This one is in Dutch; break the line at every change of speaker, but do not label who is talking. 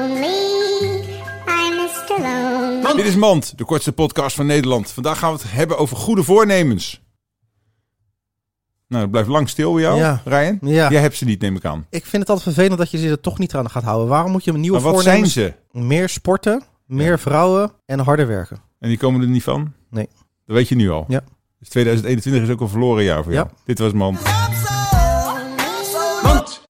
Lonely, I'm Mr. Lonely.
Dit is Mand, de kortste podcast van Nederland. Vandaag gaan we het hebben over goede voornemens. Nou, dat blijft lang stil bij jou,
Ja.
Ryan.
Ja.
Jij hebt ze niet, neem ik aan.
Ik vind het altijd vervelend dat je ze er toch niet aan gaat houden. Waarom moet je een nieuwe
Maar wat
voornemens...
zijn ze?
Meer sporten, meer vrouwen en harder werken.
En die komen er niet van?
Nee.
Dat weet je nu al.
Ja.
Dus 2021 is ook een verloren jaar voor jou.
Ja.
Dit was Mand.
Up